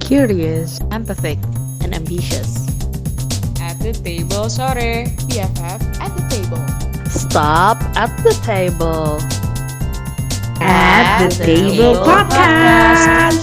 curious, empathetic, and ambitious. At the table sore, BFF at the table. Stop at the table. At the Table Iya. Podcast.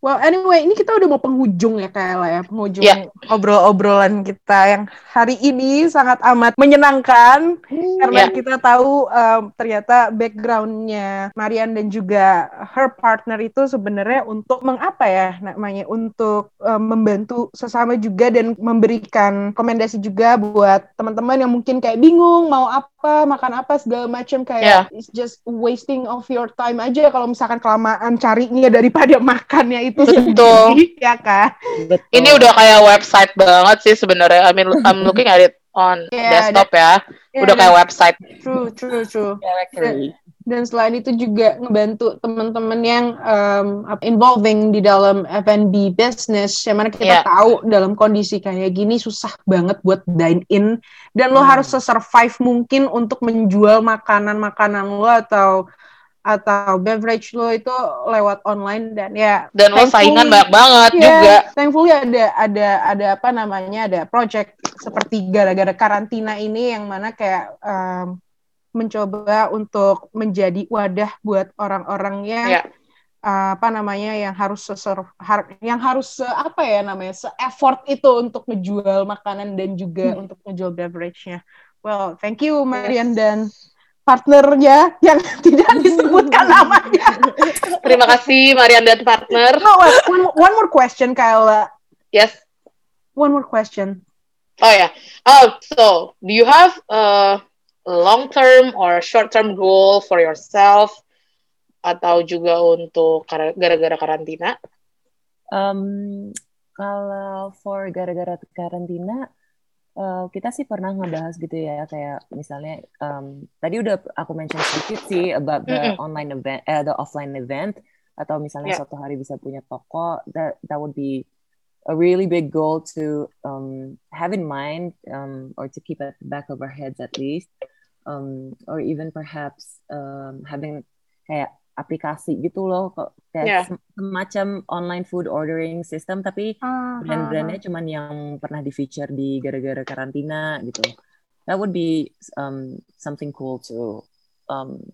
Well, anyway, ini kita udah mau penghujung ya Kayla ya, penghujung Ya. obrol-obrolan kita yang hari ini sangat amat menyenangkan karena Ya. kita tahu um, ternyata backgroundnya Marian dan juga her partner itu sebenarnya untuk mengapa ya namanya untuk um, membantu sesama juga dan memberikan rekomendasi juga buat teman-teman yang mungkin kayak bingung mau apa makan apa segala macam Ya. kayak it's just wasting of your time aja kalau misalkan kelamaan carinya daripada makannya itu Betul. sendiri ya kan Betul. Ini udah kayak website banget sih sebenarnya. I mean, I'm looking at it on Yeah, desktop ya. Ya, Udah kayak website. True, true, true. directory. Dan selain itu juga ngebantu teman-teman yang um, apa, involving di dalam F&B business, yang mana kita Yeah. tahu dalam kondisi kayak gini susah banget buat dine in, dan lo Hmm. harus survive mungkin untuk menjual makanan-makanan lo atau atau beverage lo itu lewat online dan ya Dan lo Thankfully- saingan banyak banget Iya, juga. Thankfully ada ada ada apa namanya ada project seperti gara-gara karantina ini yang mana kayak um, mencoba untuk menjadi wadah buat orang-orang yang Iya. uh, apa namanya yang harus seserv- har- yang harus se- apa ya namanya se effort itu untuk menjual makanan dan juga Hmm. untuk menjual beverage-nya. Well, thank you Marian dan partnernya yang tidak disebutkan namanya. Terima kasih Marian dan partner. No, one, one more question Kayla. Yes. One more question. Oh ya. Oh, so do you have a long term or short term goal for yourself atau juga untuk kar- gara-gara karantina? Em, kalau for gara-gara karantina, eh, kita sih pernah ngebahas gitu ya, kayak misalnya em, tadi udah aku mention sedikit sih about the Mm-mm. online event, eh, the offline event, atau misalnya Yeah. suatu hari bisa punya toko, that that would be a really big goal to um, have in mind um, or to keep at the back of our heads at least um, or even perhaps um, having kayak aplikasi gitu loh kok kayak Yeah. sem- semacam online food ordering system tapi Ah, brand-brandnya cuman yang pernah di feature di gara-gara karantina gitu that would be um, something cool to um,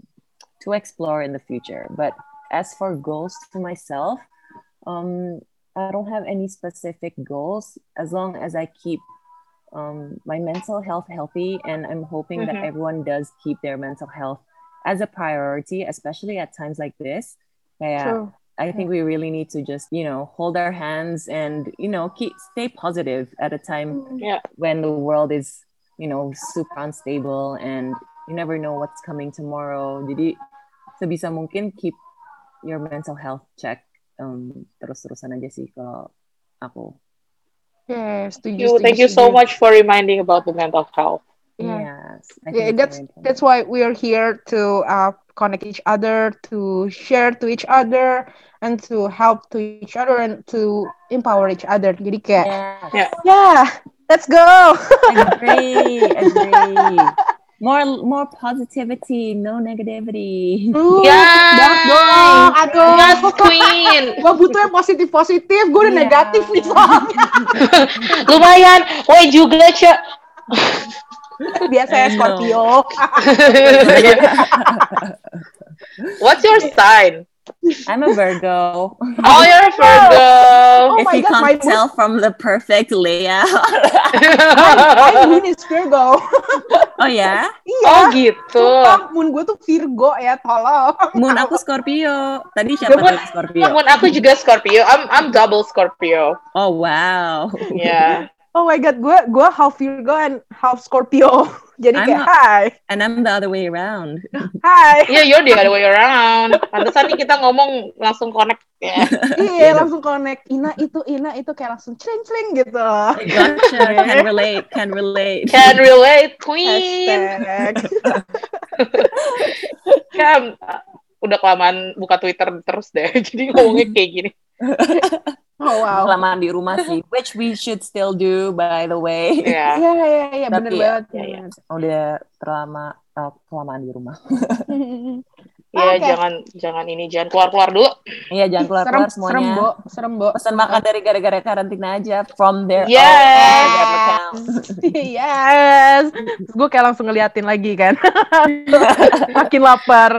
to explore in the future but as for goals to myself um, I don't have any specific goals as long as I keep um, my mental health healthy. And I'm hoping that Mhm. everyone does keep their mental health as a priority, especially at times like this. Yeah, True. I think we really need to just, you know, hold our hands and, you know, keep stay positive at a time Mm. Yeah. when the world is, you know, super unstable and you never know what's coming tomorrow. Jadi sebisa mungkin keep your mental health check um, terus-terusan aja sih kalau aku. Yeah, setuju, You, setuju, thank you so setuju. much for reminding about the mental health. Iya, Yeah. Yes, Yeah, I think it's very important. That's why we are here to uh, connect each other, to share to each other, and to help to each other and to empower each other. Jadi kayak, Yes. Yeah. yeah, let's go. agree, agree. More, more positivity, no negativity. Ooh, Yes. banget dong, aduh. Yes, Queen. Gue butuh yang positif-positif, gue udah Iya. negatif nih soalnya. Lumayan. Woi juga, Cak. Biasanya I know. ya, Scorpio. What's your sign? I'm a Virgo. Oh, you're a Virgo. Oh if my you God, my can't moon- tell from the perfect layout. My moon is Virgo. oh ya, Iya. oh, gitu. Sumpah, moon gue tuh Virgo ya, tolong. Moon aku Scorpio. Tadi siapa Moon- tadi Scorpio? Namun aku juga Scorpio. I'm I'm double Scorpio. Ya. Oh wow. Yeah. Oh my god, gue gue half Virgo and half Scorpio. Jadi I'm kayak not- hai, And I'm the other way around. hai. Yeah, Ya, you're the other way around. Pantesan nih kita ngomong langsung connect. Ya. Iya, langsung connect. Ina itu, Ina itu kayak langsung cling-cling gitu. Gotcha. Can relate. Can relate. Can relate, Queen. Hashtag. Kan udah kelamaan buka Twitter terus deh. Jadi ngomongnya kayak gini. Oh wow. kelamaan di rumah sih which we should still do by the way Ya. Iya iya iya bener Tapi ya, banget. iya, iya. udah terlama eh, kelamaan di rumah Iya, Oke. jangan jangan ini jangan keluar-keluar dulu. iya jangan keluar serem keluar serem semuanya bo serem bo. pesan makan dari gara-gara karantina aja from their Yes. own Instagram account. yes. Gue kayak langsung ngeliatin lagi kan. Makin lapar.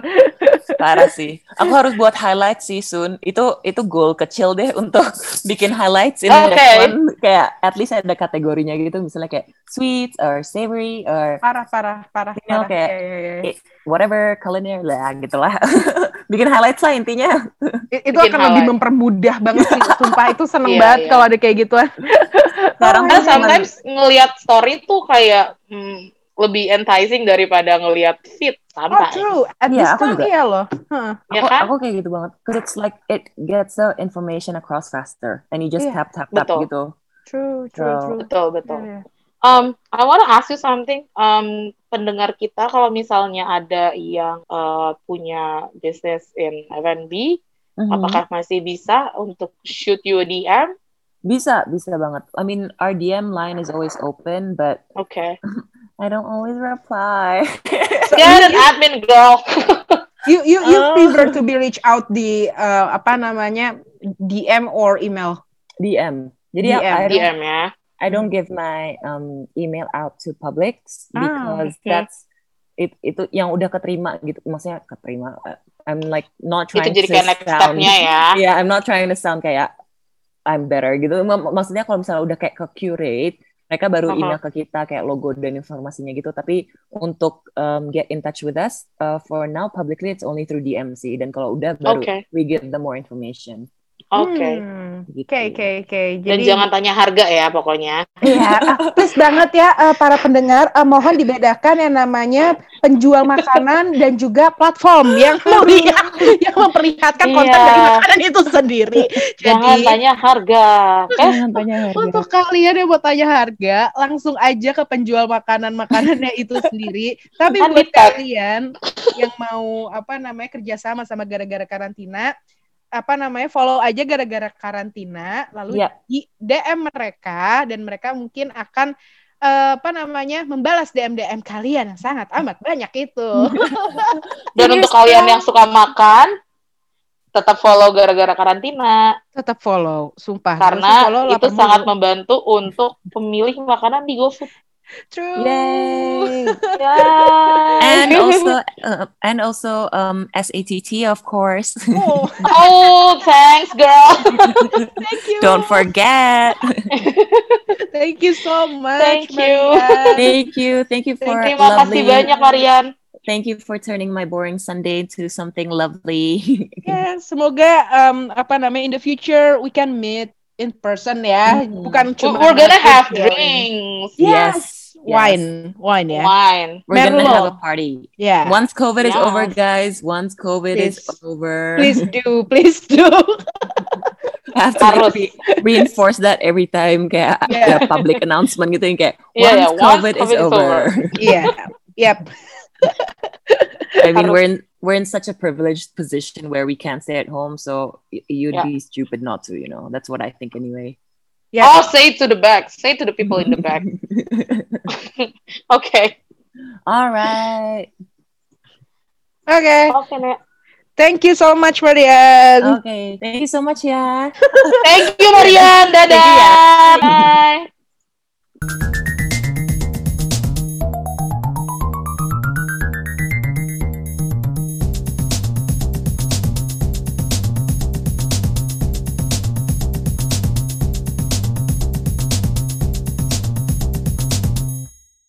parah sih aku harus buat highlight sih Sun itu itu goal kecil deh untuk bikin highlights in the Oke. next one kayak at least ada kategorinya gitu misalnya kayak sweet or savory or Parah, parah, parah. Tinggal parah. kayak- Iya, iya, iya. whatever culinary lah gitulah bikin highlights lah intinya I- itu akan lebih Bikin highlight. mempermudah banget sih sumpah itu seneng Iya, banget iya. kalau ada kayak gituan sekarang Karena Nah, sometimes ngelihat story tuh kayak hmm, lebih enticing daripada ngelihat feed oh sometimes. true at Iya, this aku time juga. iya loh ya aku, kan? aku kayak gitu banget because it's like it gets the information across faster and you just Iya, tap tap tap betul. gitu true true True. true Betul, betul. Iya, iya. Um, I wanna ask you something. Um, pendengar kita kalau misalnya ada yang uh, punya business in F&B, Mhm. Hmm. apakah masih bisa untuk shoot you a DM? bisa bisa banget I mean our DM line is always open but Oke. I don't always reply You're an admin girl. you you you Oh. prefer to be reach out di uh, apa namanya DM or email DM jadi DM, I don't DM ya. I don't give my um, email out to publics Ah, because okay. that's it, itu yang udah keterima gitu maksudnya keterima uh, I'm like not Itu trying to jadikan next sound step-nya ya. Hmm. yeah I'm not trying to sound kayak I'm better gitu M- maksudnya kalau misalnya udah kayak ke curate mereka baru Uh-huh. email ke kita kayak logo dan informasinya gitu tapi untuk um, get in touch with us uh, for now publicly it's only through DM sih dan kalau udah baru Oke. we get the more information Oke. Iya. Hmm. gitu. oke oke oke Dan jadi jangan tanya harga ya pokoknya. Iya, ah, please banget ya eh, para pendengar eh, mohon dibedakan yang namanya penjual makanan dan juga platform yang yang, yang memperlihatkan konten Iya. dari makanan itu sendiri. Jangan Jadi tanya harga. Oke? Jangan tanya harga. gitu. untuk kalian yang mau tanya harga, langsung aja ke penjual makanan-makanannya itu sendiri. Tapi Kan buat di tag. kalian yang mau apa namanya kerjasama sama gara-gara karantina, apa namanya follow aja gara-gara karantina, lalu Iya. di DM mereka dan mereka mungkin akan eh, apa namanya membalas DM DM kalian yang sangat amat banyak itu. Dan untuk kalian yang suka makan, tetap follow gara-gara karantina Tetap follow, sumpah. karena Langsung follow, itu lapar sangat mulu. membantu untuk pemilih makanan di GoFood. True. Yay. Yay. and also uh, and also um SATT of course. Oh, oh, thanks girl. thank you. Don't forget. Thank you so much. Thank you. Maria. Thank you. Thank you for Terima kasih lovely. banyak Marian. Thank you for turning my boring Sunday to something lovely. Ya, semoga um, apa namanya in the future we can meet in person ya. Mhm. Bukan We- cuma We're gonna have virtual. drinks, Yes. Yes. Wine, wine Iya. ya. wine. We're gonna Merlo. have a party. Ya. Once COVID is Yeah. over, guys. Once COVID is Please. over, Please do, please do. have to Harus. re- reinforce that every time kayak Yeah. ada public announcement gitu yang kayak once, Yeah, yeah, once COVID, is over. Iya. Yep. I mean, Harus. we're in we're in such a privileged position where we can't stay at home, so y- you'd Yeah. be stupid not to. You know, that's what I think anyway. Yep. Ya. Oh, say to the back. Say to the people in the back. Okay. All right. Oke. Okay. Nek. Thank you so much Marian. Okay. Thank you so much, yeah. Thank you Marian. Dadah. Thank you, ya.